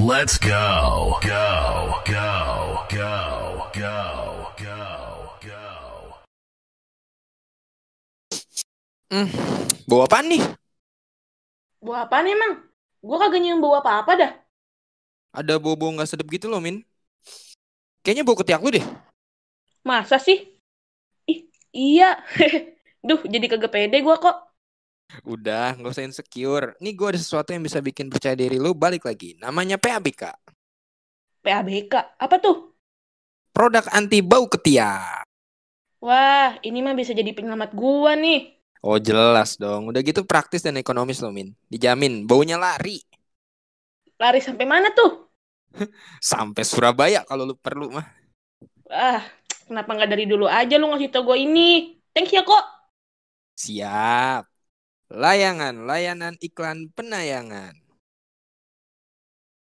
Let's go. Go. Go. Go. Go. Go. Go. Hmm, bawa apaan nih? Buah apaan emang? Gue kagak nyium bau apa-apa dah. Ada bau-bau nggak sedap gitu loh, Min. Kayaknya bau ketiak lu deh. Masa sih? Ih, iya. Duh, jadi kagak pede gue kok. Udah, nggak usah insecure. Nih gue ada sesuatu yang bisa bikin percaya diri lu balik lagi. Namanya PABK. PABK. Apa tuh? Produk anti bau ketiak. Wah, ini mah bisa jadi penyelamat gua nih. Oh jelas dong. Udah gitu praktis dan ekonomis loh, Min. Dijamin, baunya lari. Lari sampai mana tuh? Sampai Surabaya kalau lu perlu mah. Ah, kenapa nggak dari dulu aja lu ngasih tau gue ini? Thanks ya kok. Siap. Layangan, layanan iklan penayangan.